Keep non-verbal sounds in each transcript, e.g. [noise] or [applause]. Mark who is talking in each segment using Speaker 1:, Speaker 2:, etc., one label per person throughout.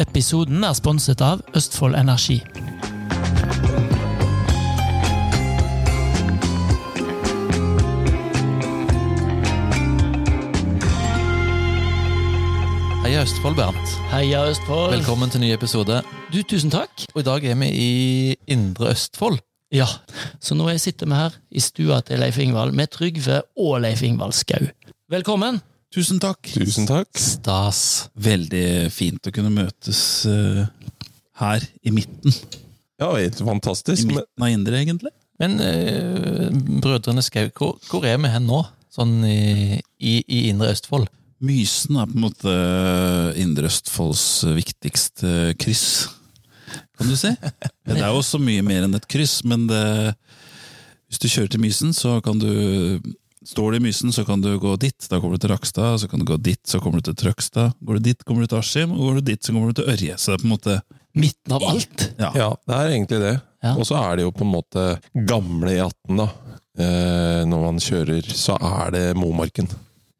Speaker 1: Episoden er sponset av Østfold Energi.
Speaker 2: Heia Østfold, Bernt.
Speaker 1: Heia Østfold!
Speaker 2: Velkommen til ny episode.
Speaker 1: Du, tusen takk.
Speaker 2: Og I dag er vi i Indre Østfold.
Speaker 1: Ja, Så nå sitter vi her i stua til Leif Ingvald med Trygve og Leif Ingvald Skau. Velkommen!
Speaker 3: Tusen takk.
Speaker 4: Tusen takk.
Speaker 2: Stas.
Speaker 3: Veldig fint å kunne møtes eh, her i midten.
Speaker 4: Ja, helt
Speaker 3: I
Speaker 4: fantastisk. Men
Speaker 3: midten av Indre, egentlig.
Speaker 2: Men eh, brødrene Skau, hvor, hvor er vi hen nå? Sånn i, i, i Indre Østfold.
Speaker 3: Mysen er på en måte eh, Indre Østfolds viktigste kryss, kan du si. Det er jo også mye mer enn et kryss, men det, hvis du kjører til Mysen, så kan du Står du i Mysen, så kan du gå dit. Da kommer du til Rakstad, så kan du gå dit, så kommer du til Trøgstad. Går du dit, kommer du til Askim, og går du dit, så kommer du til Ørje. Så det er på en måte
Speaker 1: Midten av alt.
Speaker 3: Ja.
Speaker 4: ja, det er egentlig det.
Speaker 1: Ja.
Speaker 4: Og så er det jo på en måte gamle E18, da. Eh, når man kjører, så er det Momarken.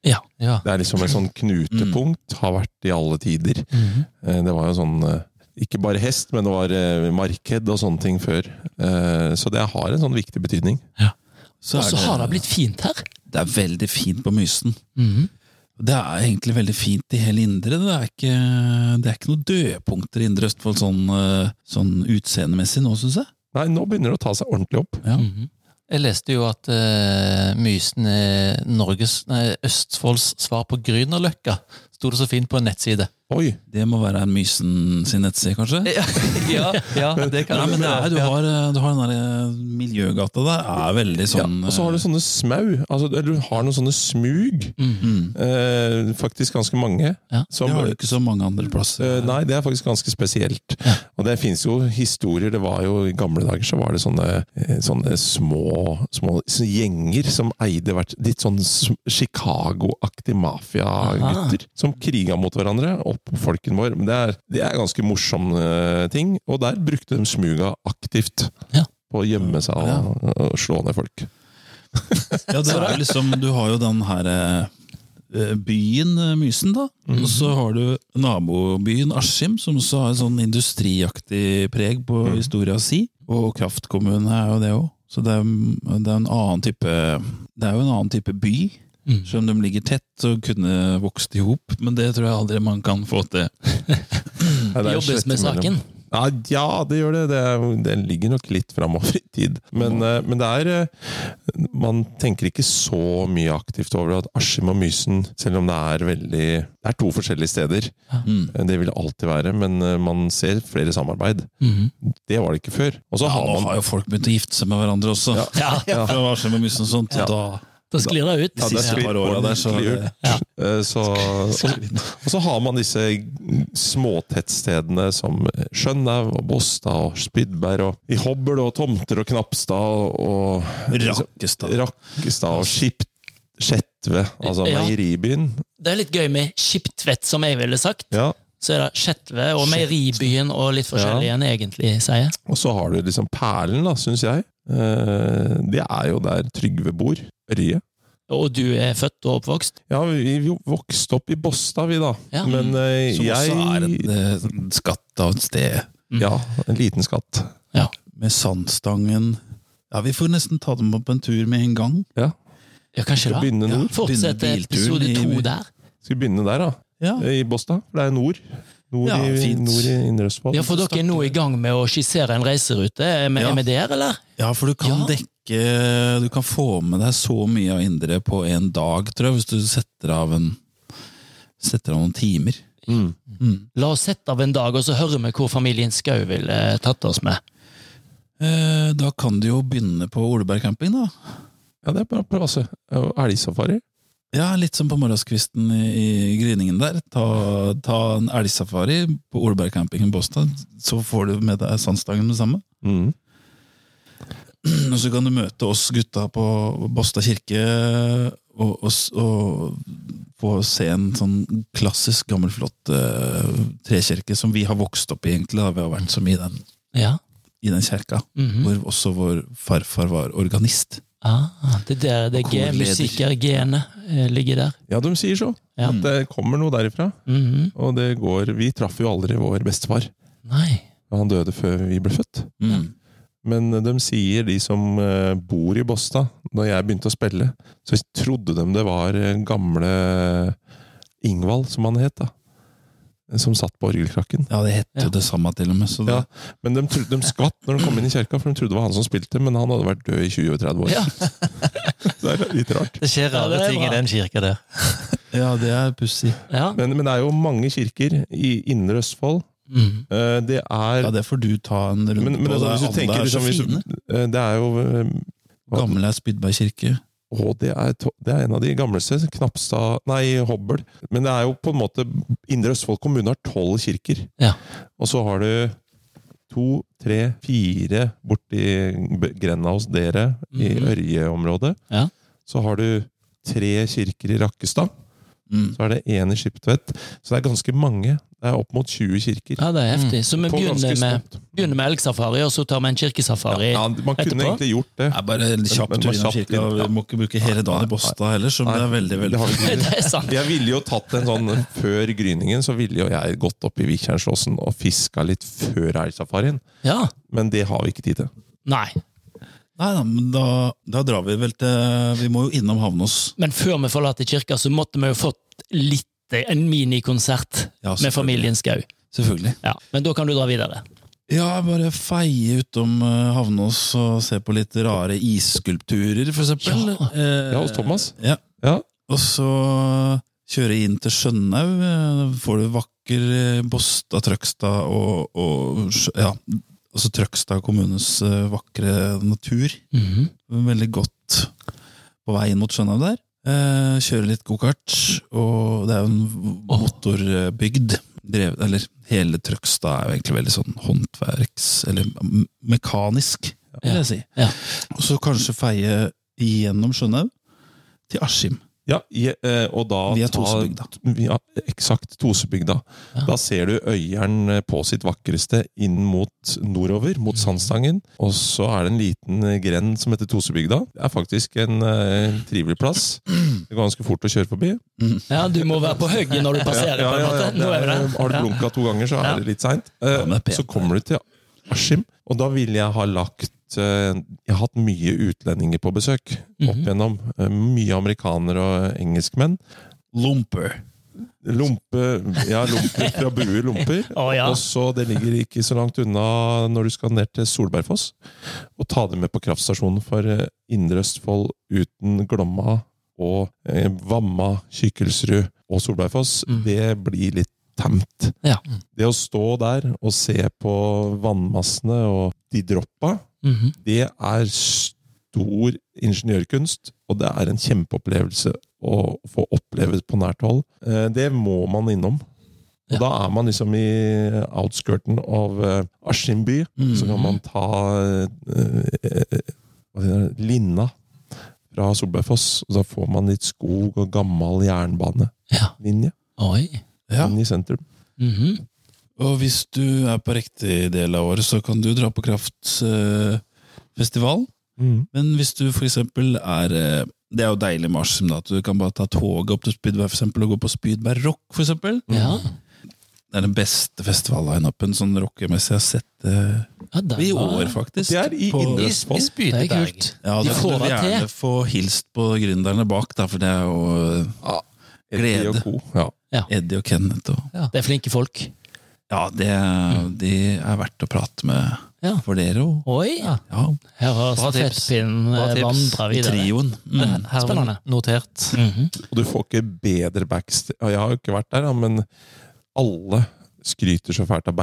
Speaker 1: Ja.
Speaker 2: Ja.
Speaker 4: Det er liksom et sånn
Speaker 3: Mm.
Speaker 4: knutepunkt. Har vært i alle tider. Eh, det var jo sånn eh, Ikke bare hest, men det var eh, marked og sånne ting før. Eh, så det har en sånn viktig betydning.
Speaker 3: så
Speaker 1: Og så har det blitt fint her.
Speaker 3: Det er veldig fint på Mysen. Det er egentlig veldig fint i hele Indre. Det er ikke, det er ikke noen dødpunkter i Indre Østfold sånn, eh, sånn utseendemessig nå, syns jeg.
Speaker 4: Nei, nå begynner det å ta seg ordentlig opp.
Speaker 3: Ja.
Speaker 2: Jeg leste jo at eh, Mysen er Norges, nei, Østfolds svar på Grünerløkka. Sto det så fint på en
Speaker 1: [laughs]
Speaker 2: nettside.
Speaker 4: Oi!
Speaker 3: Det må være Mysen sin nettside, kanskje?
Speaker 2: Ja, ja, det
Speaker 3: Nei, men det er, du, har, eh, du har den der eh, miljøgata der, er veldig sånn
Speaker 4: Og så har du sånne smau. Altså, eller du har noen sånne smug. Eh, faktisk ganske mange.
Speaker 1: Ja,
Speaker 3: eh,
Speaker 4: som,
Speaker 3: Mm. Det har du ikke så mange andre plasser.
Speaker 4: Eh, Nei, det er faktisk ganske spesielt. Og det finnes jo historier. Det var jo I gamle dager så var det sånne, eh, sånne små, små så gjenger som eide hvert Litt sånn s- Chicago-aktig mafiagutter. Som kriga mot hverandre og på folken vår. Men det er, det er ganske morsomme ting. Og der brukte de smuga aktivt.
Speaker 1: Ja.
Speaker 4: På å gjemme seg og, og slå ned folk.
Speaker 3: Ja, det er jo liksom, du har jo den her eh, byen eh, Mysen, da.
Speaker 4: Mhm.
Speaker 3: Og så har du nabobyen Askim, som også har en sånn industriaktig preg på
Speaker 4: Mhm.
Speaker 3: historia si. Og kraftkommune er jo det òg. Så det er, det er en annen type Det er jo en annen type by.
Speaker 4: Mhm.
Speaker 3: Selv om de ligger tett og kunne vokst i hop, men det tror jeg aldri man kan få til.
Speaker 4: Nei,
Speaker 1: Mm.
Speaker 4: det er
Speaker 1: Jobbes
Speaker 4: slett
Speaker 1: med
Speaker 4: imellom.
Speaker 1: saken.
Speaker 4: Ja, ja, det gjør det. Det, er- det ligger nok litt framover i tid.
Speaker 3: Mm.
Speaker 4: Men, eh, men det er eh, Man tenker ikke så mye aktivt over at Askim og Mysen, selv om det er veldig Det er to forskjellige steder.
Speaker 3: Mhm.
Speaker 4: Eh, Det vil det alltid være, men eh, man ser flere samarbeid.
Speaker 1: Mhm.
Speaker 4: Det var det ikke før. Og så
Speaker 3: Ja,
Speaker 4: har
Speaker 3: nå
Speaker 4: man
Speaker 3: har jo folk begynt å gifte seg med hverandre også. Ja.
Speaker 1: Ja,
Speaker 3: Fra Askim og Mysen og sånt. og Da,
Speaker 1: Da sklir det ut.
Speaker 4: ja, det er
Speaker 3: siste
Speaker 4: sklitt
Speaker 3: par åra der, så
Speaker 4: ordentlig
Speaker 3: det-
Speaker 4: ut. Eh, så, og, og så har man disse småtettstedene som Skjønnaug og Båstad og Spydberg og i Hobøl og Tomter og Knapstad og
Speaker 3: Rakkestad.
Speaker 4: Rakkestad og Skipt, Skjetve, altså
Speaker 1: Ja.
Speaker 4: meieribyen.
Speaker 1: Det er litt gøy med Skiptvet, som jeg ville sagt.
Speaker 4: Ja.
Speaker 1: Så er det Skjetve og Meieribyen og litt forskjellig igjen, egentlig, sier jeg.
Speaker 4: Og så har du liksom Perlen, da, syns jeg. Eh, det er jo der Trygve bor. Ørje.
Speaker 1: Og du er født og oppvokst.
Speaker 4: Ja, vi vi vokste opp i Båstad, vi, da.
Speaker 1: Ja.
Speaker 4: Men eh,
Speaker 3: Som
Speaker 4: jeg
Speaker 3: også er en eh, skatt av et sted.
Speaker 4: Ja, en liten skatt.
Speaker 1: Ja.
Speaker 3: med sandstangen. Ja, vi får nesten ta dem opp en tur med en gang.
Speaker 4: Ja.
Speaker 1: ja, kanskje
Speaker 4: Skal
Speaker 1: det.
Speaker 4: begynne nord.
Speaker 1: Fortsett
Speaker 3: begynne bilturen
Speaker 1: episode
Speaker 3: i-
Speaker 1: to der.
Speaker 4: Skal vi begynne der, da?
Speaker 3: Ja,
Speaker 4: I Båstad. For det er nord. Nord,
Speaker 3: Ja,
Speaker 4: i,
Speaker 3: fint.
Speaker 4: nord i Indre Østfold.
Speaker 1: Ja, for dere er nå i gang med å skissere en reiserute. Er vi-
Speaker 3: Ja.
Speaker 1: er vi der, eller?
Speaker 3: ja for du kan
Speaker 1: Ja.
Speaker 3: dekke Du kan få med deg så mye av indre på en dag, tror jeg, hvis du setter av en Setter av noen timer.
Speaker 4: Mm.
Speaker 1: La oss sette av en dag, og så hører vi hvor familien Skau ville tatt oss med.
Speaker 3: Eh, Da kan du jo begynne på Oleberg camping, da.
Speaker 4: Ja, det er bra plass. Elgsafari.
Speaker 3: Ja, litt som på morgenskvisten i, i gryningen der. Ta, ta en elgsafari på Oleberg camping i Båstad, så får du med deg sandstangen med det samme.
Speaker 4: Mm.
Speaker 3: Og så kan du møte oss gutta på Båstad kirke og, og, s- og få se en sånn klassisk gammel, flott eh, trekirke som vi har vokst opp i, egentlig. Da. Vi har vært så mye i den,
Speaker 1: Ja.
Speaker 3: i den kjerka,
Speaker 4: Mm.
Speaker 1: Mhm.
Speaker 3: hvor også vår farfar var organist.
Speaker 1: Ah, det der, det
Speaker 3: Og
Speaker 1: G-
Speaker 3: korleder.
Speaker 1: musikergenet eh, ligger der.
Speaker 4: Ja, de sier så.
Speaker 1: Ja.
Speaker 4: At det kommer noe derifra.
Speaker 1: Mhm.
Speaker 4: Og det går Vi traff jo aldri vår bestefar.
Speaker 1: Nei.
Speaker 4: Han døde før vi ble født.
Speaker 3: Mm.
Speaker 4: Men de sier, de som eh, bor i Båstad Når jeg begynte å spille, så trodde de det var eh, gamle Ingvald, som han het, da. Som satt på orgelkrakken.
Speaker 3: Ja, det het jo
Speaker 1: Ja.
Speaker 3: det samme til og med. Så det,
Speaker 4: Ja. Men de, trodde, de skvatt når de kom inn i kjerka, for de trodde det var han som spilte, men han hadde vært død i 20-30 år. [laughs]
Speaker 1: Ja.
Speaker 4: Det er litt rart.
Speaker 2: Det skjer
Speaker 1: Ja, det
Speaker 2: rare
Speaker 1: er
Speaker 2: ting
Speaker 1: bra.
Speaker 2: i den kirka der.
Speaker 3: ja, det er pussig.
Speaker 1: ja.
Speaker 4: Men, men det er jo mange kirker i indre Østfold.
Speaker 1: Mhm.
Speaker 4: Eh, Det er
Speaker 3: Mm. Ja, det får du ta en runde
Speaker 4: Men, men
Speaker 3: på.
Speaker 4: altså,
Speaker 3: det er
Speaker 4: hvis du
Speaker 3: alle
Speaker 4: tenker
Speaker 3: er så
Speaker 4: liksom, hvis
Speaker 3: fine.
Speaker 4: du, eh, Det er jo eh,
Speaker 3: Gamle er Spydberg kirke.
Speaker 4: Og det er, to- det er en av de gamleste. Knapstad Nei, Hobbel. Men det er jo på en måte Indre Østfold kommune har tolv kirker.
Speaker 1: Ja.
Speaker 4: Og så har du to, tre, fire borti b- grenda hos dere, i
Speaker 1: Mhm.
Speaker 4: Ørje-området.
Speaker 1: Ja.
Speaker 4: Så har du tre kirker i Rakkestad.
Speaker 3: Mm.
Speaker 4: Så er det én i Skiptvet. Så det er ganske mange. Det er opp mot 20 kirker.
Speaker 1: ja, det er heftig. Så vi
Speaker 4: På ganske
Speaker 1: begynner med,
Speaker 4: smått.
Speaker 1: begynner med elgsafari, og så tar vi en kirkesafari.
Speaker 4: ja, Man kunne
Speaker 1: etterpå.
Speaker 4: egentlig gjort det.
Speaker 3: Det er bare en kjapp
Speaker 4: Men- men
Speaker 3: tur
Speaker 4: bare
Speaker 3: innom
Speaker 4: kjapt
Speaker 3: kirka.
Speaker 4: inn, ja.
Speaker 3: Vi må ikke bruke hele dagen i Båstad heller, som
Speaker 4: Nei,
Speaker 3: det er veldig
Speaker 4: det
Speaker 3: veldig
Speaker 4: har du ikke.
Speaker 1: [laughs] det er sant.
Speaker 4: Jeg ville jo tatt en sånn Før gryningen så ville jo jeg gått opp i Vikjernslåsen og fiska litt før elgsafarien.
Speaker 1: Ja.
Speaker 4: Men det har vi ikke tid til.
Speaker 1: Nei.
Speaker 3: Nei da, men da, da drar vi vel til Vi må jo innom Havnås.
Speaker 1: Men før vi forlater kirka, så måtte vi jo fått litt eh, en minikonsert
Speaker 3: Ja,
Speaker 1: med
Speaker 3: selvfølgelig.
Speaker 1: familien Skau.
Speaker 3: Selvfølgelig.
Speaker 1: Ja. Men da kan du dra videre.
Speaker 3: Ja, bare feie utom eh, Havnås og se på litt rare isskulpturer, for eksempel.
Speaker 1: Ja.
Speaker 3: Eh,
Speaker 4: Ja, hos Thomas.
Speaker 3: Ja.
Speaker 4: Ja.
Speaker 3: Og så eh, kjøre inn til Skjønnau. eh, Får du vakker eh, Båstad, Trøgstad og, og Skjø- Ja, altså Trøgstad kommunes eh, vakre natur. Veldig godt på vei inn mot Skjønnau der. Eh, kjøre litt gokart, og det er jo en motorbygd. Drevet, eller hele Trøgstad er jo egentlig veldig sånn håndverks... Eller m- mekanisk, vil jeg si.
Speaker 1: Ja.
Speaker 3: Og så kanskje feie gjennom Skjønnau til Askim.
Speaker 4: Ja, je- eh, og da
Speaker 3: Via
Speaker 4: ta-
Speaker 3: Tosebygda.
Speaker 4: Ja, eksakt. Tosebygda.
Speaker 1: Ja.
Speaker 4: Da ser du Øyeren eh, på sitt vakreste inn mot nordover, mot Sandstangen. Og så er det en liten eh, grend som heter Tosebygda. Det er faktisk en eh, trivelig plass. Det går ganske fort å kjøre forbi.
Speaker 1: Ja, du må være på høyde når du passerer,
Speaker 4: Ja, ja,
Speaker 1: på en
Speaker 4: ja,
Speaker 1: måte. Nå er vi
Speaker 4: det
Speaker 1: der.
Speaker 4: er- Har du
Speaker 1: Ja.
Speaker 4: blunka to ganger, så er
Speaker 1: Ja.
Speaker 4: det litt seint.
Speaker 3: men det er pent.
Speaker 4: så kommer du til Askim, og da ville jeg ha lagt eh, Jeg har hatt mye utlendinger på besøk opp
Speaker 1: Mhm.
Speaker 4: igjennom. Eh, Mye amerikanere og engelskmenn.
Speaker 3: Lomper.
Speaker 4: Lompe Ja, lomper fra bue lomper.
Speaker 1: Å, ja.
Speaker 4: Og så, det ligger ikke så langt unna når du skal ned til Solbergfoss. Og ta det med på kraftstasjonen for eh, Indre Østfold uten Glomma og eh, Vamma, Kykkelsrud og Solbergfoss.
Speaker 1: Mm.
Speaker 4: Det blir litt tamt.
Speaker 1: Ja.
Speaker 4: Det å stå der og se på vannmassene og de droppa,
Speaker 1: Mhm.
Speaker 4: det er stor ingeniørkunst, og det er en kjempeopplevelse å få oppleve på nært hold. Eh, Det må man innom. Og
Speaker 1: Ja.
Speaker 4: Da er man liksom i outskirten av eh, Askim by.
Speaker 1: Mm.
Speaker 4: Så kan man ta eh, eh, hva heter det, Linna fra Solbergfoss. og Da får man litt skog og gammel
Speaker 1: Ja.
Speaker 4: jernbanelinje
Speaker 1: Oi.
Speaker 3: Ja.
Speaker 4: inn i sentrum.
Speaker 1: Mhm.
Speaker 3: Og hvis du er på riktig del av året, så kan du dra på kraftfestival.
Speaker 4: Mm.
Speaker 3: Men hvis du for eksempel er eh, Det er jo deilig med Askim, da, at du kan bare ta toget opp til Spydberg for eksempel, og gå på Spydberg Rock. For eksempel.
Speaker 1: Ja.
Speaker 3: Det er den beste festivallineupen sånn rockemessig jeg har sett eh,
Speaker 1: ja der
Speaker 3: i
Speaker 1: var-
Speaker 3: år, faktisk.
Speaker 4: Det er i
Speaker 3: På-
Speaker 4: Indre
Speaker 2: I, i
Speaker 1: Det
Speaker 4: Østfold.
Speaker 1: er
Speaker 2: Spydeberg.
Speaker 1: kult.
Speaker 3: Ja,
Speaker 1: De
Speaker 3: da
Speaker 1: får
Speaker 3: kan du
Speaker 1: deg til.
Speaker 3: gjerne få hilst på gründerne bak, da, for det er jo eh,
Speaker 4: Eddie og
Speaker 3: glede.
Speaker 4: co. Ja.
Speaker 3: Eddie og Kenneth og
Speaker 1: Det er flinke folk.
Speaker 3: Ja, det, de er verdt å prate med
Speaker 1: Ja.
Speaker 3: for dere òg.
Speaker 1: Oi!
Speaker 3: Ja,
Speaker 1: Her har
Speaker 2: Bra tips.
Speaker 1: stafettpinnen
Speaker 2: Bra
Speaker 1: eh,
Speaker 2: tips.
Speaker 1: vandra videre.
Speaker 3: trioen. Mm.
Speaker 2: Herved
Speaker 1: Spennende.
Speaker 2: Notert.
Speaker 1: Mhm.
Speaker 4: Og du får ikke bedre backstage Jeg har jo ikke vært der, da, men alle skryter så fælt av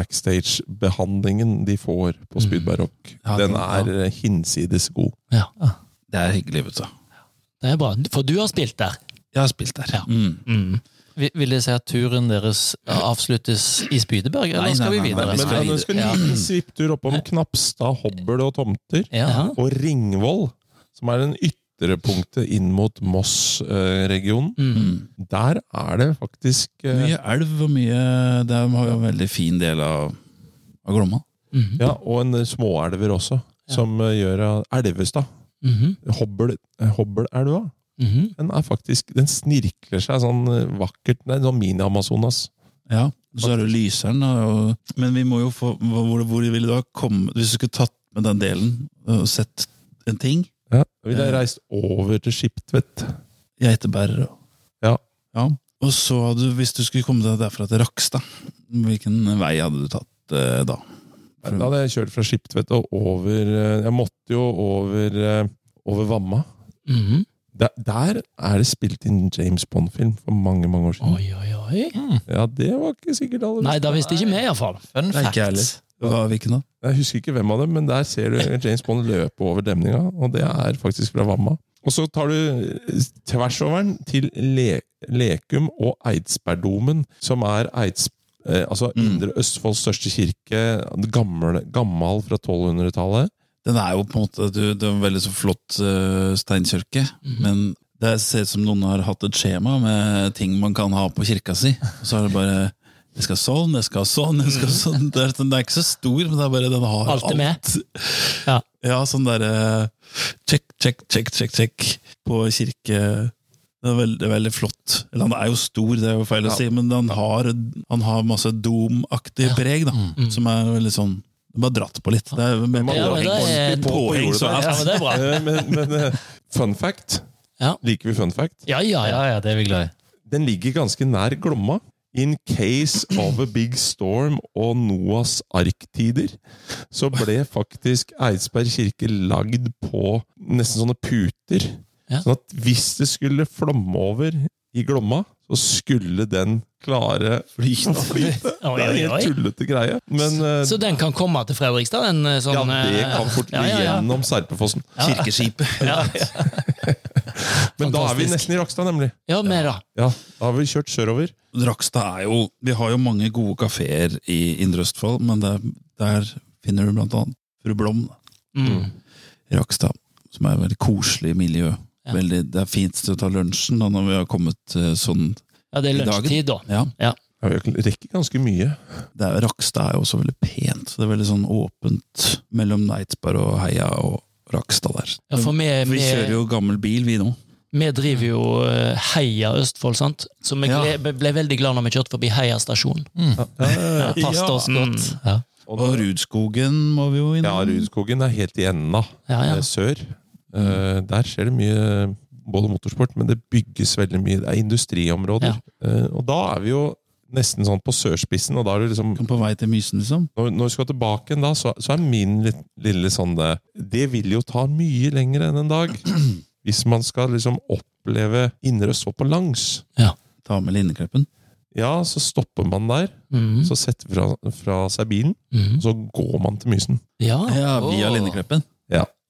Speaker 4: backstage-behandlingen de får på Spydberg Rock.
Speaker 3: Ja,
Speaker 4: Den
Speaker 3: den-
Speaker 4: er eh, hinsides god.
Speaker 1: Ja.
Speaker 3: Det er hyggelig, vet du.
Speaker 1: Det er bra. For du har spilt der.
Speaker 3: Jeg har spilt der.
Speaker 1: Ja.
Speaker 3: Mm.
Speaker 1: Mhm.
Speaker 2: Vi- Vil det si at turen deres eh, avsluttes i Spydeberg, eller
Speaker 3: Nei,
Speaker 2: skal vi
Speaker 3: nei, nei,
Speaker 2: videre?
Speaker 3: nei,
Speaker 4: Men
Speaker 3: vi skal
Speaker 4: ja, du
Speaker 3: videre.
Speaker 4: skal en liten svipptur oppom Knapstad, Hobbel og tomter.
Speaker 2: Ja.
Speaker 1: Ja.
Speaker 4: Og Ringvoll, som er den ytrepunktet inn mot Moss-regionen.
Speaker 1: Mhm.
Speaker 3: Mm.
Speaker 4: Der er det faktisk eh,
Speaker 3: Mye elv og mye Det har jo en veldig fin del av, av Glomma.
Speaker 1: Mhm.
Speaker 4: Ja, og en småelver også, som eh, gjør at Elvestad. eh,
Speaker 1: Mhm,
Speaker 4: Hobbel, Hobbelelva
Speaker 1: mhm.
Speaker 4: den er faktisk, den snirkler seg sånn eh, vakkert. Nei, sånn mini-Amazonas.
Speaker 3: Ja, så er det jo lyseren da, og, Men vi må jo få hva- hvor, hvor ville du ha kommet Hvis du skulle tatt med den delen og sett en ting
Speaker 4: Ja. Vi har
Speaker 3: Ja.
Speaker 4: reist over til Skiptvet.
Speaker 3: Geitebærer og
Speaker 4: Ja.
Speaker 3: ja. Og så hadde du, hvis du skulle komme deg derfra til Rakstad Hvilken vei hadde du tatt eh, da?
Speaker 4: Da hadde jeg kjørt fra Skiptvet og over eh, Jeg måtte jo over, eh, over Vamma.
Speaker 1: Mhm.
Speaker 4: Der, der er det spilt inn James Bond-film for mange mange år siden.
Speaker 1: Oi, oi, oi.
Speaker 4: Ja, Det var ikke sikkert alle
Speaker 1: Nei, da visste ikke vi, iallfall.
Speaker 2: Fun
Speaker 3: Det er ikke jeg heller.
Speaker 2: fact.
Speaker 3: Hva, hvilken da?
Speaker 4: Jeg husker ikke hvem av dem, men der ser du James Bond løpe over demninga. Og det er faktisk fra Vamma. Og så tar du tvers over den til Le Lekum og Eidsbergdomen, som er Eids eh, altså
Speaker 3: Mm.
Speaker 4: Indre Østfolds største kirke. Gammel, gammel fra 1200-tallet.
Speaker 3: Den er jo på en måte du, Det er en veldig så flott eh, steinkirke,
Speaker 1: Mhm.
Speaker 3: men det ser ut som noen har hatt et skjema med ting man kan ha på kirka si. Og så er det bare Jeg skal sånn, jeg skal sånn, jeg skal sånn. Det er, den er ikke så stor, men det er bare den har
Speaker 1: Alt er med. Ja.
Speaker 3: Ja. sånn derre Check, check, check, check, check på kirke Det er veldig, veldig flott. Eller han er jo stor, det er jo feil
Speaker 4: Ja.
Speaker 3: å si, men han har, han har masse domaktig preg, da, som er veldig sånn bare dratt på litt. Det er med
Speaker 1: Mm.
Speaker 4: Man
Speaker 1: Ja,
Speaker 4: holder
Speaker 1: men det
Speaker 4: ordentlig
Speaker 1: er-
Speaker 4: på, på
Speaker 3: Påheng, så
Speaker 4: jorda.
Speaker 1: Ja, men det er bra.
Speaker 4: Eh, Men, men eh, fun fact.
Speaker 1: Ja.
Speaker 4: Liker vi fun fact?
Speaker 1: Ja, ja, ja.
Speaker 2: Ja, ja, det er vi glad i.
Speaker 4: Den ligger ganske nær Glomma. In case of a big storm og Noas arktider, så ble faktisk Eidsberg kirke lagd på nesten sånne puter.
Speaker 1: Ja.
Speaker 4: Sånn at hvis det skulle flomme over i Glomma, så skulle den klare å flyte. Det
Speaker 1: [laughs] Oi, oi,
Speaker 4: er en
Speaker 1: oi.
Speaker 4: helt tullete greie. Men eh,
Speaker 1: Så den kan komme til Fredrikstad? Den eh, sånn,
Speaker 4: ja, det
Speaker 1: eh,
Speaker 4: kan fort
Speaker 1: ja,
Speaker 4: bli
Speaker 1: ja, ja.
Speaker 4: gjennom Serpefossen.
Speaker 3: Kirkeskipet.
Speaker 1: Ja,
Speaker 4: Men da er vi
Speaker 1: Fantastisk.
Speaker 4: nesten i Rakstad, nemlig.
Speaker 1: ja med da.
Speaker 4: Ja, Da har vi kjørt sørover.
Speaker 3: Rakstad er jo Vi har jo mange gode kafeer i Indre Østfold, men der, der finner du blant annet Fru Blom da,
Speaker 1: Mm.
Speaker 3: i Rakstad, som er et veldig koselig miljø.
Speaker 1: Ja.
Speaker 3: Veldig, det er fint å ta lunsjen da, når vi har kommet eh, sånn
Speaker 1: Ja, det er
Speaker 3: I dagen.
Speaker 1: lunsjtid, da.
Speaker 3: Ja,
Speaker 4: Ja, vi rekker ganske mye.
Speaker 3: det er, Rakstad er jo også veldig pent. så Det er veldig sånn åpent mellom Eidsberg og Heia og Rakstad der.
Speaker 1: Ja, for vi,
Speaker 3: vi kjører
Speaker 1: vi,
Speaker 3: jo gammel bil, vi nå.
Speaker 1: vi driver jo eh, Heia Østfold, sant? Så vi
Speaker 3: Ja.
Speaker 1: ble, ble veldig glad når vi kjørte forbi Heia stasjon. Ja, passet
Speaker 3: Ja.
Speaker 1: oss godt. Ja.
Speaker 4: Og
Speaker 3: Og Rudskogen må vi jo
Speaker 4: Ja,
Speaker 3: innom.
Speaker 4: Rudskogen er helt i enden av
Speaker 1: Ja, ja.
Speaker 4: eh, sør. Eh, der skjer det mye eh, både motorsport, men det bygges veldig mye. Det er industriområder. Eh, og da er vi jo nesten sånn på sørspissen, og da er det liksom
Speaker 3: På vei til Mysen, liksom.
Speaker 4: Når, når vi skal tilbake igjen da, så, så er min litt, lille sånn det Det vil jo ta mye lenger enn
Speaker 1: [clears throat]
Speaker 4: en dag. Hvis man skal liksom oppleve Indre Østfold på langs.
Speaker 3: Ta med Linnekleppen.
Speaker 4: Ja, så stopper man der.
Speaker 1: Mhm,
Speaker 4: Så setter fra, fra seg bilen,
Speaker 1: mhm.
Speaker 4: og så går man til Mysen.
Speaker 1: ja.
Speaker 3: Ja, via
Speaker 1: Åh.
Speaker 3: Linnekleppen.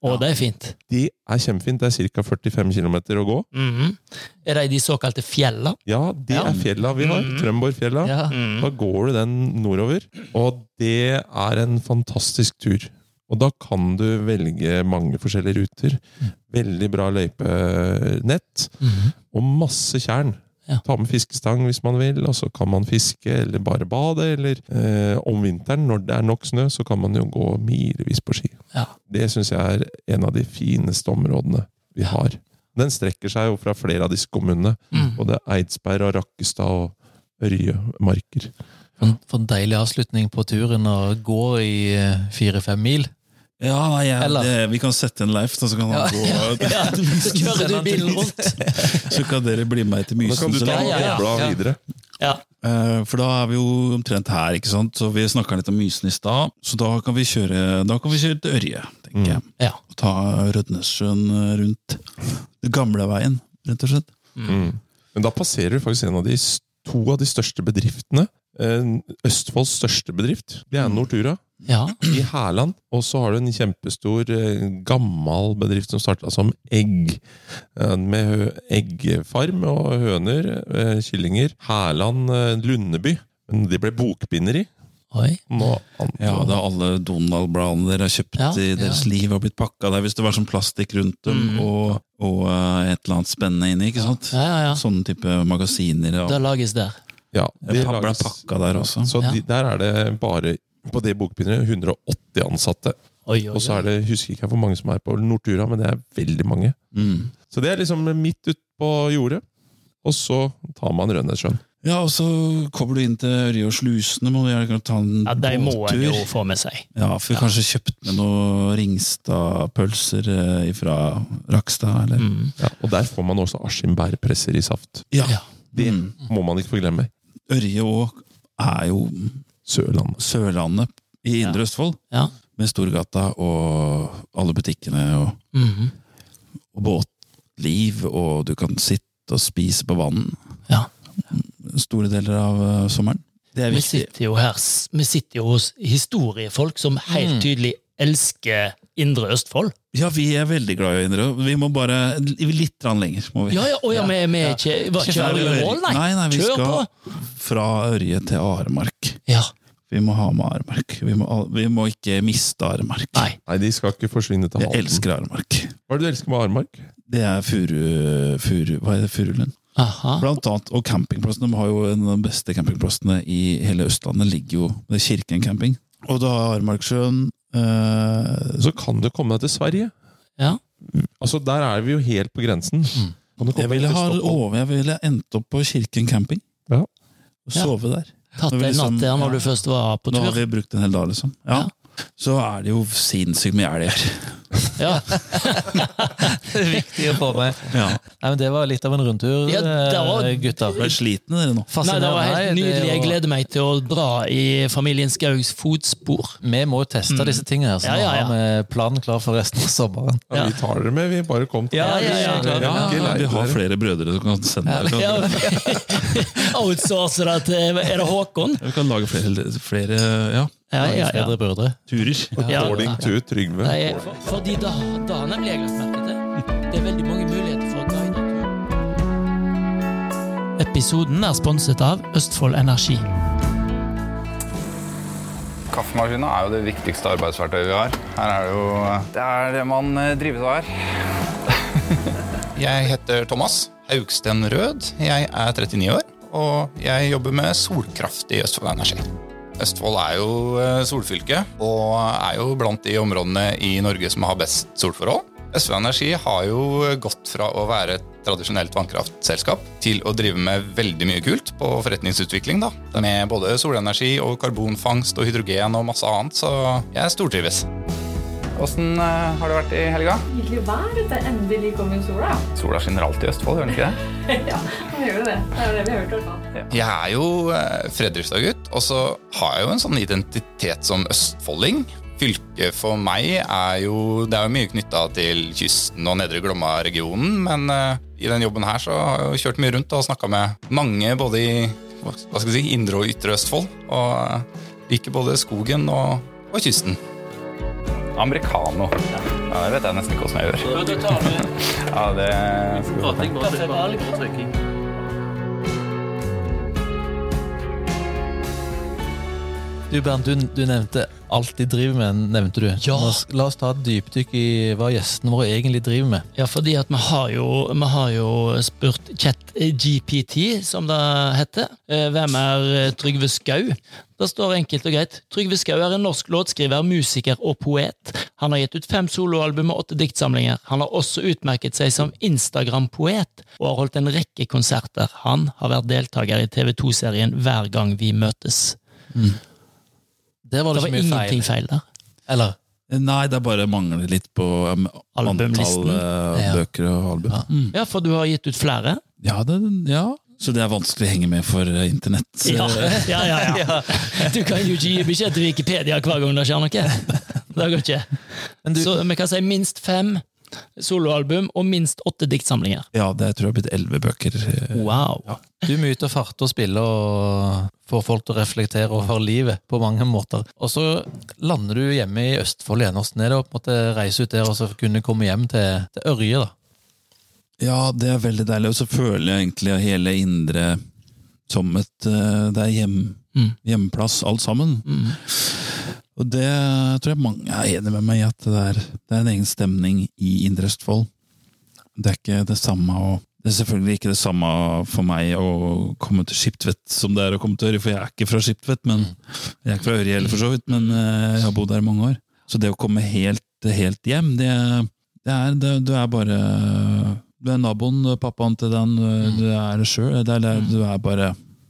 Speaker 1: Å, det er fint.
Speaker 4: Det er kjempefint. Det er ca. 45 km å gå.
Speaker 1: Mhm. Er det i de såkalte fjella?
Speaker 4: Ja, det
Speaker 1: Ja.
Speaker 4: er fjella vi har.
Speaker 1: Mm.
Speaker 4: Trømborgfjella.
Speaker 1: Ja.
Speaker 4: Da går du den nordover, og det er en fantastisk tur. Og da kan du velge mange forskjellige ruter.
Speaker 1: Mm.
Speaker 4: Veldig bra løypenett,
Speaker 1: Mhm.
Speaker 4: og masse tjern.
Speaker 1: Ja.
Speaker 4: Ta med fiskestang hvis man vil, og så kan man fiske eller bare bade. Eller eh, om vinteren, når det er nok snø, så kan man jo gå milevis på ski.
Speaker 1: Ja.
Speaker 4: Det syns jeg er en av de fineste områdene vi har. Den strekker seg jo fra flere av disse kommunene.
Speaker 1: Mm.
Speaker 4: Både Eidsberg og Rakkestad og Ørjemarker.
Speaker 2: For, for en deilig avslutning på turen å gå i eh, fire-fem mil.
Speaker 3: Ja, nei, jeg,
Speaker 2: Eller-
Speaker 3: det, vi kan sette en Leif, da, så kan han gå
Speaker 1: [laughs] Ja, så kjører
Speaker 3: [laughs]
Speaker 1: du bilen rundt.
Speaker 3: Så kan dere bli med til
Speaker 4: Da
Speaker 3: Mysen.
Speaker 4: kan du
Speaker 3: så
Speaker 4: ta
Speaker 1: Ja,
Speaker 3: lenge.
Speaker 1: ja, ja.
Speaker 4: bobla videre.
Speaker 1: Ja.
Speaker 3: Eh, For da er vi jo omtrent her, ikke sant? Så vi snakka litt om Mysen i stad, så da kan vi kjøre, da kan vi kjøre til Ørje, tenker jeg.
Speaker 1: Ja.
Speaker 3: Og ta Rødnessjøen rundt gamleveien, rett og slett.
Speaker 4: Mm. Men da passerer du faktisk en av de, s- to av de største bedriftene. Eh, Østfolds største bedrift. Det er Nortura
Speaker 1: ja.
Speaker 4: i Hærland. Og så har du en kjempestor, eh, gammel bedrift som starta som egg. eh, Med hø- eggfarm og høner, eh, kyllinger. Hærland eh, Lundeby. Men de ble bokbinderi.
Speaker 1: Oi.
Speaker 4: Nå antar
Speaker 3: Ja, da alle Donald-bladene dere har kjøpt
Speaker 1: Ja,
Speaker 3: i deres liv, har blitt pakka der hvis det var sånn plastikk rundt dem,
Speaker 1: Mm.
Speaker 3: og, og eh, et eller annet spennende inni, ikke sant?
Speaker 1: Ja, ja, ja.
Speaker 3: Sånne type magasiner. Og,
Speaker 1: Det [laughs] lages der.
Speaker 4: Ja,
Speaker 3: Det ble pakka der også.
Speaker 4: Så
Speaker 1: Ja.
Speaker 4: de, der er det bare på det bokbinderiet 180 ansatte.
Speaker 1: Oi, oi,
Speaker 4: Og
Speaker 1: oi.
Speaker 4: så er det, husker ikke jeg hvor mange som er på Nortura, men det er veldig mange.
Speaker 3: Mm.
Speaker 4: Så det er liksom midt ut på jordet. Og så tar man Rønnetsjøen.
Speaker 3: Ja, og så kommer du inn til Ørje og slusene, må du gjerne ta en
Speaker 1: Ja, de må en jo
Speaker 3: båttur.
Speaker 1: få med seg.
Speaker 3: Ja, for vi kanskje kjøpt med noen Ringstad-pølser eh, fra Rakstad, eller?
Speaker 1: Mm.
Speaker 4: Ja, og der får man også askimbærpresser i saft.
Speaker 3: Ja.
Speaker 1: Ja.
Speaker 4: Det
Speaker 3: Mm.
Speaker 4: må man ikke få glemme.
Speaker 3: Ørje òg er jo
Speaker 4: Sørlandet.
Speaker 3: Sørlandet i Indre Østfold,
Speaker 1: Ja.
Speaker 3: med Storgata og alle butikkene og,
Speaker 1: Mhm.
Speaker 3: og båtliv, og du kan sitte og spise på vann
Speaker 1: Ja.
Speaker 3: store deler av eh, sommeren. Det er
Speaker 1: Vi
Speaker 3: viktig.
Speaker 1: sitter jo her s- Vi sitter jo hos historiefolk som helt tydelig elsker Indre Østfold.
Speaker 3: Ja, vi er veldig glad i Indre. Vi må bare litt grann lenger. Må vi.
Speaker 1: Ja, ja, å, ja, vi, vi er ikke Var ikke
Speaker 3: Fra
Speaker 1: alle i
Speaker 3: Ørje-
Speaker 1: mål, nei?
Speaker 3: nei, nei, vi
Speaker 1: Kjør på!
Speaker 3: skal fra Ørje til Aremark.
Speaker 1: Ja.
Speaker 3: Vi må ha med Aremark. Vi må, al- vi må ikke miste Aremark.
Speaker 1: Nei.
Speaker 4: Nei, de skal ikke forsvinne til
Speaker 3: Jeg
Speaker 4: Halden.
Speaker 3: elsker Aremark.
Speaker 4: Hva er det du elsker med Aremark?
Speaker 3: Det er Furu... Furu hva er det? Furulund?
Speaker 1: Aha.
Speaker 3: Blant annet, og campingplassene de har jo en av de beste campingplassene i hele Østlandet ligger jo ved Kirken camping. Og da Aremarksjøen eh,
Speaker 4: Så kan du komme deg til Sverige.
Speaker 1: Ja.
Speaker 4: Altså, Der er vi jo helt på grensen. Kan du komme
Speaker 3: jeg, ville
Speaker 4: deg til
Speaker 3: ha
Speaker 4: Stockholm?
Speaker 3: over, jeg ville endt opp på Kirken camping.
Speaker 4: Ja.
Speaker 3: Og sove der.
Speaker 1: Tatt
Speaker 3: Når vi
Speaker 1: en
Speaker 3: liksom-
Speaker 1: natt der når
Speaker 3: ja.
Speaker 1: du først var på
Speaker 3: Nå har
Speaker 1: tur.
Speaker 3: vi brukt en hel dag, liksom. Ja. Så er det jo sinnssykt mye elg her.
Speaker 1: Ja. [laughs]
Speaker 2: Det er viktig å få med.
Speaker 3: [laughs] Ja.
Speaker 2: Nei, men Det var litt av en rundtur,
Speaker 1: Ja, det var-
Speaker 2: eh, gutter.
Speaker 3: Dere er slitne, dere nå.
Speaker 1: Nei, Altså, det var helt
Speaker 2: Nei, det
Speaker 1: nydelig. Jeg
Speaker 2: var-
Speaker 1: gleder meg til å dra i familien Skaugs fotspor.
Speaker 2: Vi må jo teste disse tingene, her, så
Speaker 1: Mm. Ja, ja, ja.
Speaker 2: nå har vi planen klar for resten av sommeren.
Speaker 4: Ja, vi tar dere med. Vi bare kom til
Speaker 1: ja,
Speaker 2: Ja,
Speaker 1: ja, ja.
Speaker 4: Vi er ikke lei
Speaker 3: vi har
Speaker 4: dere.
Speaker 3: flere brødre som kan sende sånn. deg. Vi
Speaker 1: Ja, [laughs]
Speaker 3: kan-
Speaker 1: Outsource det til Er det Håkon?
Speaker 3: Vi kan lage flere, flere ja,
Speaker 1: Ja, ja, ja.
Speaker 2: Bedre brødre.
Speaker 3: turer.
Speaker 1: ja.
Speaker 4: Bårding Tue Trygve.
Speaker 1: Nei, for, fordi da, da har nemlig jeg lagt merke til Det er veldig mange muligheter for å guide tur. Episoden er sponset av Østfold Energi.
Speaker 5: Kaffemaskina er jo det viktigste arbeidsverktøyet vi har. Her er det jo eh, Det er det man eh, drives av her. [laughs] jeg heter Thomas Haugsten Rød. Jeg er 39 år, og jeg jobber med solkraft i Østfold Energi. Østfold er jo eh, solfylke, og er jo blant de områdene i Norge som har best solforhold. Østfold Energi har jo gått fra å være et tradisjonelt vannkraftselskap til å drive med veldig mye kult på forretningsutvikling, da. Med både solenergi og karbonfangst og hydrogen og masse annet, så jeg stortrives. Åssen eh, har det vært i helga?
Speaker 6: Nydelig vær ute. Endelig kommer sola. [laughs]
Speaker 5: Sola skinner alltid i Østfold, gjør den ikke det?
Speaker 6: Ja, nå gjør det det. Det er det vi har hørt i hvert fall.
Speaker 5: Jeg er jo eh, Fredrikstad-gutt, og så har jeg jo en sånn identitet som østfolding. Fylket for meg er jo Det er jo mye knytta til kysten og Nedre Glomma-regionen, men eh, i den jobben her så har jeg jo kjørt mye rundt og snakka med mange både i hva hva skal jeg si, indre og ytre Østfold, og eh, liker både skogen og, og kysten. Americano. Ja, det vet jeg nesten ikke åssen jeg gjør. Ja, det
Speaker 2: Du Bernt, du, du nevnte alt de driver med. nevnte du.
Speaker 1: Ja.
Speaker 2: La, oss, la oss ta et dypdykk i hva gjestene våre egentlig driver med.
Speaker 1: Ja, fordi at vi har jo, vi har jo spurt ChatGPT, som det heter. Eh, Hvem er eh, Trygve Skau? Det står enkelt og greit. Trygve Skau er en norsk låtskriver, musiker og poet. Han har gitt ut fem soloalbum og åtte diktsamlinger. Han har også utmerket seg som Instagram-poet, og har holdt en rekke konserter. Han har vært deltaker i TV 2-serien Hver gang vi møtes.
Speaker 2: Der
Speaker 1: Det
Speaker 2: var det,
Speaker 1: var
Speaker 2: ikke mye
Speaker 1: ingenting feil
Speaker 2: feil.
Speaker 1: der.
Speaker 2: Eller?
Speaker 3: Nei, det bare mangler litt på um, antall
Speaker 1: Albumlisten.
Speaker 3: eh,
Speaker 2: Ja.
Speaker 3: bøker og album. Ja. Mm.
Speaker 1: Ja, for du har gitt ut flere.
Speaker 3: Ja, det, ja. Så det er vanskelig å henge med for eh, internett.
Speaker 1: [laughs] Ja,
Speaker 3: Eh,
Speaker 1: ja, ja, ja. Du kan jo ikke gi beskjed til Wikipedia hver gang det skjer noe. Det går ikke.
Speaker 2: Men du,
Speaker 1: Så vi kan si minst fem soloalbum og minst åtte diktsamlinger.
Speaker 3: ja det tror jeg har blitt elleve bøker. eh.
Speaker 1: Wow.
Speaker 2: du må ut og farte og spille og få folk til å reflektere over livet på mange måter. Og så lander du hjemme i Østfold igjen. Hvordan er det å på en måte reise ut der og så kunne komme hjem til, til Ørje? da?
Speaker 3: Ja, det er veldig deilig. Og så føler jeg egentlig hele indre som et eh, Det er hjem,
Speaker 1: Mm.
Speaker 3: hjemplass, alt sammen.
Speaker 1: Mm.
Speaker 3: Og det tror jeg mange er enig med meg i, at det er, det er en egen stemning i Indre Østfold. Det er ikke det samme å det er selvfølgelig ikke det samme for meg å komme til Skiptvet som det er å komme til Ørje, for jeg er ikke fra Skiptvet, men jeg er ikke fra Ørje heller, for så vidt, men eh, jeg har bodd der i mange år. Så det å komme helt, helt hjem, det, det er det, Du er bare Du er naboen, pappaen til den, du er det sjøl. Det er, det er, du er bare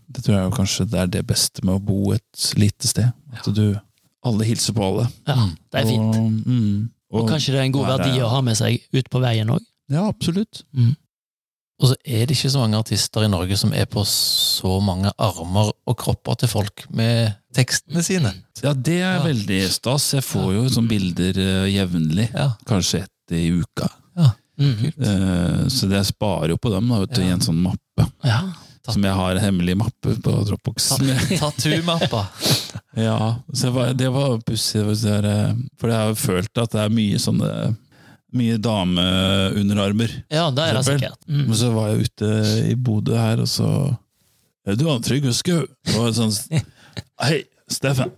Speaker 3: Det tror jeg jo kanskje det er det beste med å bo et lite sted. At du Alle hilser på alle.
Speaker 1: Ja, det er fint.
Speaker 3: Og, mm,
Speaker 1: Og kanskje det er en god
Speaker 3: være-
Speaker 1: verdi å ha med seg ut på veien òg.
Speaker 3: Ja, absolutt.
Speaker 2: Og så er det ikke så mange artister i Norge som er på så mange armer og kropper til folk med tekstene sine.
Speaker 3: Ja, det er
Speaker 2: Ja.
Speaker 3: veldig stas. Jeg får jo sånne bilder eh, jevnlig.
Speaker 2: Ja.
Speaker 3: Kanskje ett i uka.
Speaker 1: Mm.
Speaker 3: Eh, Så jeg sparer jo på dem da, vet du,
Speaker 2: Ja.
Speaker 3: i en sånn mappe.
Speaker 1: Ja.
Speaker 3: Som jeg har en hemmelig mappe på Dropbox.
Speaker 2: Tattoo-mappa.
Speaker 3: [laughs] Ja, så det var, det var pussig. det var så der, eh, For jeg har jo følt at det er mye sånne Mye dameunderarmer.
Speaker 1: ja, det er det
Speaker 3: Eksempel.
Speaker 1: sikkert. Mm.
Speaker 3: Men så var jeg ute i Bodø her, og så «Er Du han Trygve Skau? Og sånn
Speaker 1: [laughs]
Speaker 3: Hei, Steffen.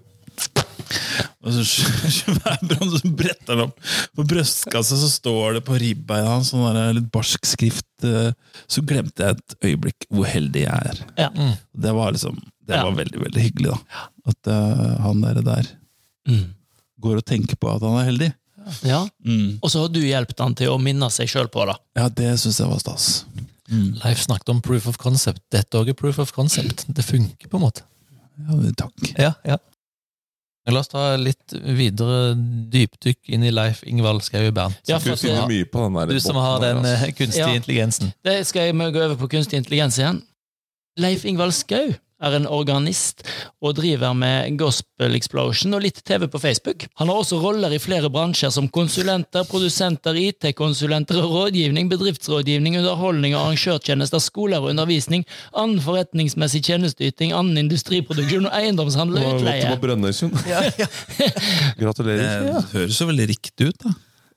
Speaker 3: Og så [laughs] sveiper han, så bretter han opp på brystkassa, så står det på ribbeina hans sånn der litt barsk skrift. eh, Så glemte jeg et øyeblikk hvor heldig jeg er.
Speaker 1: Ja.
Speaker 2: Mm.
Speaker 3: Det var liksom Det
Speaker 1: Ja.
Speaker 3: var veldig, veldig hyggelig, da. At eh, han der, der
Speaker 1: Mm.
Speaker 3: går og tenker på at han er heldig.
Speaker 1: ja. Og så har du hjulpet han til å minne seg sjøl på det.
Speaker 3: Ja, det syns jeg var stas.
Speaker 2: Leif snakket om proof of concept. Dette òg er proof of concept. Det funker, på en måte.
Speaker 3: Ja, takk.
Speaker 2: Ja, ja. La oss ta litt videre dypdykk inn i Leif Ingvald Skau Bernt.
Speaker 1: Ja,
Speaker 4: Du
Speaker 1: for at,
Speaker 4: finner mye på den der
Speaker 2: Du som
Speaker 4: botten
Speaker 2: har
Speaker 4: der,
Speaker 2: den
Speaker 4: altså.
Speaker 2: eh, kunstige
Speaker 1: Ja.
Speaker 2: intelligensen.
Speaker 1: Det skal jeg må gå over på kunstig intelligens igjen. Leif Ingvald Skau er en organist og driver med Gospel Explosion og litt TV på Facebook. Han har også roller i flere bransjer som konsulenter, produsenter, IT-konsulenter og rådgivning, bedriftsrådgivning, underholdning og arrangørtjenester, skoler og undervisning, annen forretningsmessig tjenesteyting, annen industriproduksjon og eiendomshandel og
Speaker 4: Det var godt
Speaker 1: utleie.
Speaker 2: [laughs]
Speaker 4: på Brønnøysund.
Speaker 3: Det
Speaker 4: [laughs]
Speaker 2: Eh,
Speaker 4: Gratulerer.
Speaker 3: høres jo veldig riktig ut, da.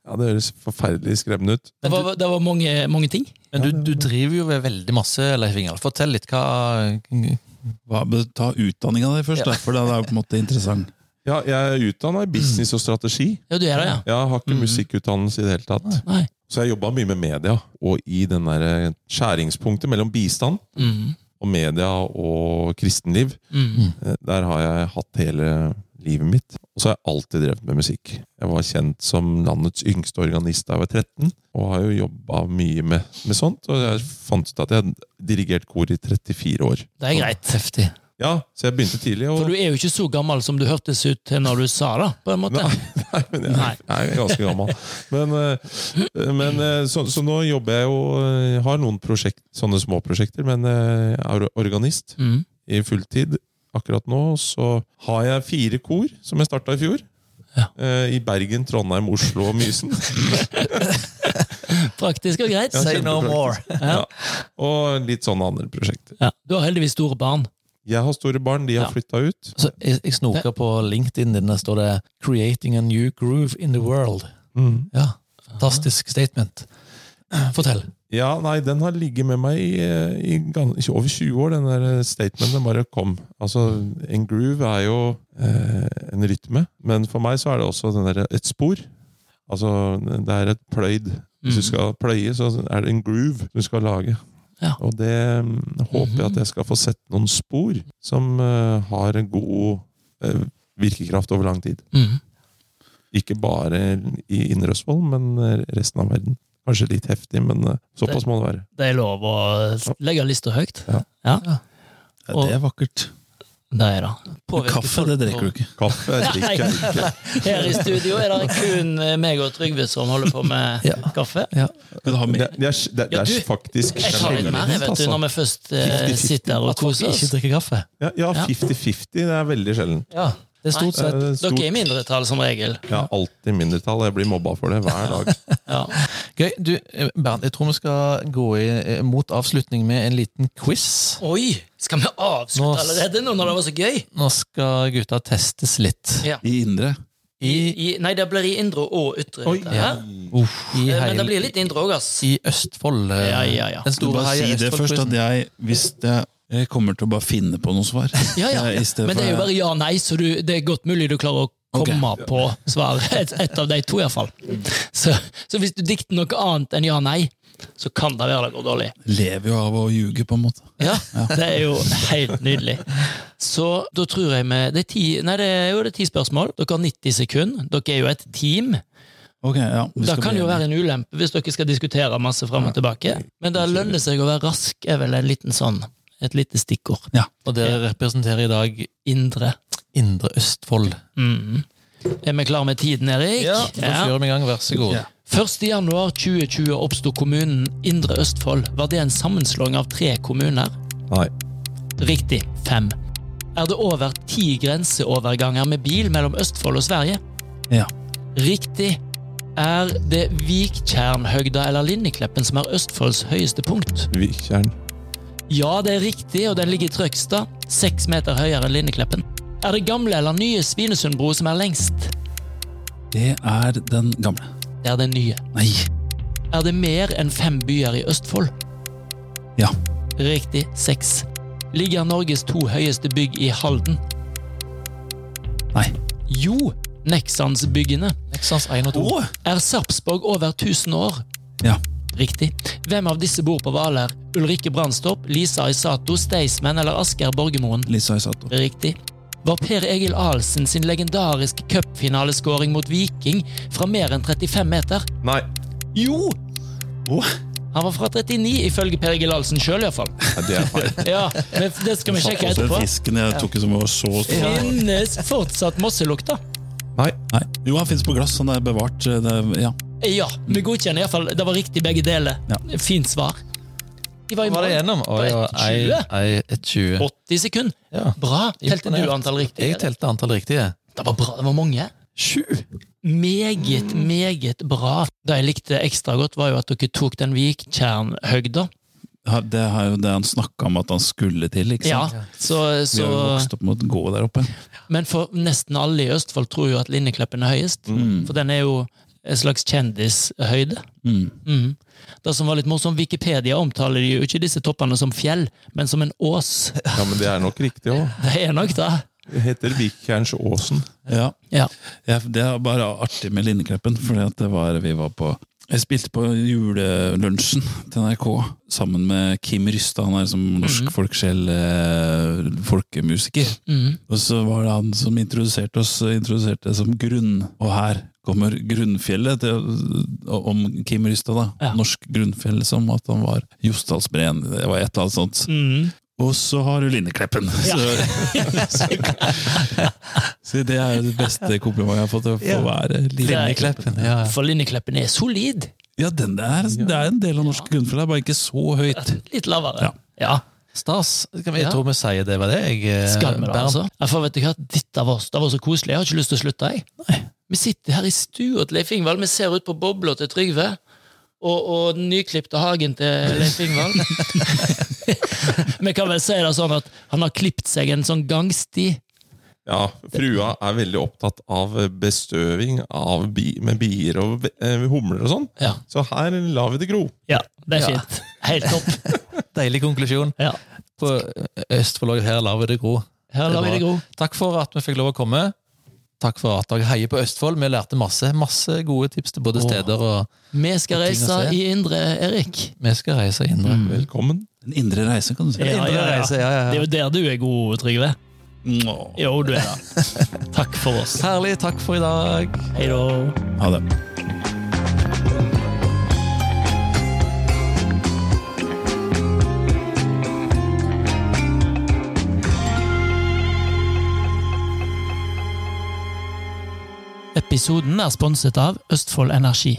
Speaker 4: Ja, Det høres forferdelig skremmende ut.
Speaker 1: Det var, det var mange, mange ting.
Speaker 2: Men du, du driver jo med veldig masse, Leif Ingvald. Fortell litt hva
Speaker 3: Hva, men ta utdanninga di først, da, for den er jo på en måte interessant.
Speaker 4: Ja, jeg er utdanna i business og strategi.
Speaker 1: Ja, du er det, ja.
Speaker 4: Jeg har
Speaker 2: Mm.
Speaker 4: ikke musikkutdannelse i det hele tatt.
Speaker 1: Nei.
Speaker 4: Så jeg jobba mye med media, og i den der eh, skjæringspunktet mellom bistand
Speaker 1: Mm.
Speaker 4: og media og kristenliv,
Speaker 1: Mm.
Speaker 4: eh, der har jeg hatt hele livet mitt. Og så har jeg alltid drevet med musikk. Jeg var kjent som landets yngste organist da jeg var 13, og har jo jobba mye med, med sånt. Og jeg fant ut at jeg hadde dirigert kor i 34 år.
Speaker 1: Det er greit.
Speaker 2: Heftig.
Speaker 4: Ja, Så jeg begynte tidlig. Og,
Speaker 1: For du er jo ikke så gammel som du hørtes ut til når du sa det, på en måte.
Speaker 4: Nei, men jeg,
Speaker 1: Nei.
Speaker 4: jeg er ganske gammel. Men, eh, men eh, så, så nå jobber jeg jo eh, Har noen prosjekt, sånne små prosjekter, men eh, jeg er organist
Speaker 1: Mm.
Speaker 4: i fulltid akkurat nå. Så har jeg fire kor som jeg starta i fjor.
Speaker 1: Ja.
Speaker 4: eh, I Bergen, Trondheim, Oslo og
Speaker 1: [laughs]
Speaker 4: Mysen.
Speaker 1: Praktisk og greit.
Speaker 4: Ja,
Speaker 2: Say no
Speaker 4: kjempepraktisk.
Speaker 2: more.
Speaker 4: Ja. Og litt sånne andre prosjekter.
Speaker 1: Ja. Du har heldigvis store barn.
Speaker 4: Jeg har store barn, de har
Speaker 1: Ja.
Speaker 4: flytta ut.
Speaker 2: Så jeg, jeg snoker på LinkedIn din, der står det 'Creating a new groove in the world'.
Speaker 1: Mm.
Speaker 2: Ja, Fantastisk statement. Fortell.
Speaker 4: Ja, nei, den har ligget med meg i, eh, i, gan- i over 20 år, den der statementen bare kom. Altså, en groove er jo eh, en rytme, men for meg så er det også den der, et spor. Altså, det er et pløyd. Hvis du skal pløye, så er det en groove du skal lage.
Speaker 1: Ja.
Speaker 4: Og det mm, håper jeg at jeg skal få sett noen spor som eh, har en god eh, virkekraft over lang tid.
Speaker 1: Mm.
Speaker 4: Ikke bare i Indre Østfold, men eh, resten av verden. Kanskje litt heftig, men eh, såpass må det være.
Speaker 1: Det er lov å legge lista høyt.
Speaker 4: Ja.
Speaker 3: Ja,
Speaker 1: Og-
Speaker 3: det er vakkert.
Speaker 1: Det er det.
Speaker 3: Men kaffe, det drikker du ikke.
Speaker 4: Kaffe drikker jeg ikke.
Speaker 1: Her i studio er det kun meg og Trygve som holder på med
Speaker 2: Ja.
Speaker 1: kaffe.
Speaker 3: Skal du ha
Speaker 4: Det,
Speaker 3: mer?
Speaker 4: det, er, det, det
Speaker 1: Ja, du,
Speaker 4: er faktisk
Speaker 1: Jeg tar litt mer vet du, når vi først eh,
Speaker 4: 50-50.
Speaker 1: sitter og
Speaker 2: At folk
Speaker 1: koser
Speaker 2: ikke
Speaker 1: oss.
Speaker 2: drikker kaffe.
Speaker 4: Ja, ja, 50-50. Det er veldig sjelden.
Speaker 2: Ja, Det er stort
Speaker 4: Det
Speaker 2: sett
Speaker 4: er
Speaker 1: Dere er i
Speaker 4: stort.
Speaker 1: mindretall som regel.
Speaker 4: Jeg har alltid mindretall. Jeg blir mobba for det
Speaker 1: [laughs]
Speaker 4: hver dag.
Speaker 1: Ja.
Speaker 2: gøy. Du, eh, Bernt, jeg tror vi skal gå i, eh, mot avslutning med en liten quiz.
Speaker 1: Oi! Skal vi
Speaker 2: Nå
Speaker 1: avslutte
Speaker 2: s-
Speaker 1: allerede nå når det var så gøy?
Speaker 2: Nå skal gutta testes litt.
Speaker 1: Ja.
Speaker 3: I indre?
Speaker 2: I,
Speaker 1: I, nei, det blir i indre og ytre.
Speaker 4: Oi.
Speaker 1: dette her.
Speaker 2: uff,
Speaker 1: Eh,
Speaker 2: i,
Speaker 1: Men det
Speaker 2: heil,
Speaker 1: blir litt indre òg, ass.
Speaker 2: i Østfold. eh,
Speaker 1: Ja, ja, ja.
Speaker 2: Den
Speaker 3: Du
Speaker 2: store
Speaker 3: bare
Speaker 2: heia
Speaker 3: si det først, at
Speaker 2: Østfold-quizen.
Speaker 3: jeg, hvis jeg, jeg kommer til å bare finne på
Speaker 1: [laughs]
Speaker 3: noe svar.
Speaker 1: Ja, ja.
Speaker 3: Jeg- Eh, i stedet
Speaker 1: Men det er jo
Speaker 3: for-
Speaker 1: bare ja-nei, så du, det er godt mulig du klarer å komme på
Speaker 3: [laughs]
Speaker 1: svaret. Et, et av de to, iallfall. Så, så hvis du dikter noe annet enn ja-nei, så kan det være det går dårlig.
Speaker 3: Lever jo av å ljuge, på en måte.
Speaker 1: Ja, Det er jo helt nydelig. Så da tror jeg vi Det er ti, nei, det er jo det er ti spørsmål. Dere har 90 sekunder. Dere er jo et team.
Speaker 3: Ok, ja. vi
Speaker 1: Det
Speaker 3: skal
Speaker 1: kan
Speaker 3: bli
Speaker 1: jo
Speaker 3: enige.
Speaker 1: være en ulempe hvis dere skal diskutere masse fram og tilbake. Men det lønner seg å være rask, er vel en liten sånn, et lite stikkord.
Speaker 2: Og dere representerer i dag
Speaker 1: Indre.
Speaker 2: Indre Østfold.
Speaker 1: Mm. Er vi klare med tiden, Erik?
Speaker 2: Da kjører vi i gang, vær så god.
Speaker 3: Ja.
Speaker 1: 1.1.2020 oppsto kommunen Indre Østfold. Var det en sammenslåing av tre kommuner?
Speaker 4: Nei.
Speaker 1: Riktig. Fem. Er det over ti grenseoverganger med bil mellom Østfold og Sverige?
Speaker 3: Ja.
Speaker 1: Riktig. Er det Viktjernhøgda eller Linnekleppen som er Østfolds høyeste punkt?
Speaker 4: Vikjern.
Speaker 1: Ja, det er riktig, og den ligger i Trøgstad. Seks meter høyere enn Linnekleppen. Er det gamle eller nye Svinesundbro som er lengst?
Speaker 3: Det er den gamle.
Speaker 1: Det er den nye.
Speaker 3: Nei.
Speaker 1: Er det mer enn fem byer i Østfold?
Speaker 3: Ja.
Speaker 1: Riktig. Seks. Ligger Norges to høyeste bygg i Halden?
Speaker 3: Nei.
Speaker 1: Jo, Nexans-byggene.
Speaker 2: Nexans 1 og 2.
Speaker 1: Er Sarpsborg over 1000 år?
Speaker 3: Ja.
Speaker 1: Riktig. Hvem av disse bor på Hvaler? Ulrikke Brandstorp, Lisa Isato, Staysman eller Asgeir Borgermoen?
Speaker 3: Lisa Isato.
Speaker 1: Riktig. Var Per Egil Ahlsen sin legendariske cupfinaleskåring mot Viking fra mer enn 35 meter?
Speaker 4: Nei.
Speaker 1: Jo!
Speaker 3: Åh.
Speaker 1: Han var fra 39, ifølge Per Egil Ahlsen sjøl iallfall.
Speaker 4: Ja, det er feil.
Speaker 1: Ja, men det skal vi sjekke
Speaker 3: Den
Speaker 1: etterpå.
Speaker 3: altså, fisken jeg tok som var så stor.
Speaker 1: Finnes fortsatt mosselukta?
Speaker 4: Nei.
Speaker 3: Nei. Jo, han finnes på glass. Han er bevart. Det er, ja.
Speaker 1: Ja, vi godkjenner iallfall. Det var riktig begge deler.
Speaker 3: Ja.
Speaker 1: Fint svar. De var i
Speaker 2: Var det
Speaker 1: mål.
Speaker 2: gjennom? Oi,
Speaker 1: På
Speaker 2: oi, ei-
Speaker 1: 1,20.
Speaker 2: ei- 1,20.
Speaker 1: 80 sekunder.
Speaker 2: Ja.
Speaker 1: Bra. Telte du
Speaker 2: Imponert.
Speaker 1: antall riktige?
Speaker 2: Jeg telte antall riktige.
Speaker 1: Det var bra. Det var mange.
Speaker 2: Sju!
Speaker 1: Meget, meget bra. Det jeg likte ekstra godt, var jo at dere tok den Viktjernhøgda.
Speaker 3: Har- Det er jo det han snakka om at han skulle til. ikke
Speaker 1: Ja,
Speaker 3: sant?
Speaker 1: så,
Speaker 3: Vi
Speaker 1: så,
Speaker 3: har jo vokst opp med å gå der oppe.
Speaker 1: men for nesten alle i Østfold tror jo at Linnekleppen er høyest, for den er jo en slags kjendishøyde.
Speaker 3: Mm.
Speaker 1: Mm. Det som var litt morsomt, Wikipedia omtaler jo ikke disse toppene som fjell, men som en ås. [laughs]
Speaker 4: Ja, men det er nok riktig òg.
Speaker 1: Det er nok det.
Speaker 4: Det heter Vikjernsåsen.
Speaker 3: Ja.
Speaker 1: Ja.
Speaker 3: Ja, for det er bare artig med Linnekleppen, fordi at det var vi var på Jeg spilte på julelunsjen til NRK sammen med Kim Rysta, han er som norsk
Speaker 1: Mhm.
Speaker 3: folksjel eh, folkemusiker.
Speaker 1: Mm.
Speaker 3: Og så var det han som introduserte oss, introduserte det som grunn. Og her kommer grunnfjellet til, om Kim Rysta, da.
Speaker 1: Ja.
Speaker 3: Norsk grunnfjell, som at han var Jostdalsbreen. Det var et eller annet sånt.
Speaker 1: Mm.
Speaker 3: Og så har du Linnekleppen. Så, så det er jo det beste komplimentet jeg har fått. Å få være Linneklepp.
Speaker 2: Linnekleppen. Ja. ja.
Speaker 1: For Linnekleppen er solid.
Speaker 3: Ja, den der, det er en del av norsk grunnfjell, det er bare ikke så høyt.
Speaker 1: Litt lavere. Ja.
Speaker 2: Stas. Skal vi-
Speaker 1: Ja.
Speaker 2: Jeg tror vi sier det var det. Jeg, eh,
Speaker 1: Skal vi da,
Speaker 2: Bernt.
Speaker 1: altså? Ja, for vet du hva, dette var, det var så koselig. Jeg har ikke lyst til å slutte, jeg. Vi sitter her i stua til Leif Ingvald, vi ser ut på bobla til Trygve. Og, og den nyklipte hagen til Leif
Speaker 2: [laughs]
Speaker 1: Ingvald. Vi kan vel si det sånn at han har klipt seg en sånn gangsti.
Speaker 4: Ja, frua er veldig opptatt av bestøving av bi, med bier og eh, humler og sånn.
Speaker 1: Ja.
Speaker 4: Så her lar vi det gro.
Speaker 1: ja, det er
Speaker 2: Ja.
Speaker 1: fint. Helt
Speaker 2: [laughs]
Speaker 1: topp.
Speaker 2: Deilig konklusjon.
Speaker 1: Ja.
Speaker 2: På Østfold og her lar vi det gro.
Speaker 1: Her lar vi det gro.
Speaker 2: Takk for at vi fikk lov å komme. Takk for at dere heier på Østfold. Vi lærte masse masse gode tips til både
Speaker 1: Åh.
Speaker 2: steder og
Speaker 1: Vi skal
Speaker 2: Ting å
Speaker 1: reise
Speaker 2: se.
Speaker 1: i Indre, Erik.
Speaker 2: Vi skal reise indre.
Speaker 4: Velkommen.
Speaker 3: En indre reise, kan du si.
Speaker 1: Mm. Ja, ja,
Speaker 2: Indre
Speaker 1: ja.
Speaker 2: reise, ja, ja,
Speaker 1: Det er
Speaker 2: ja.
Speaker 1: jo der du er god, Trygve.
Speaker 3: Nå.
Speaker 1: Jo, du er det. Takk for oss.
Speaker 2: Herlig. Takk for i dag.
Speaker 1: Hei da.
Speaker 3: Ha det.
Speaker 1: Episoden er sponset av Østfold Energi.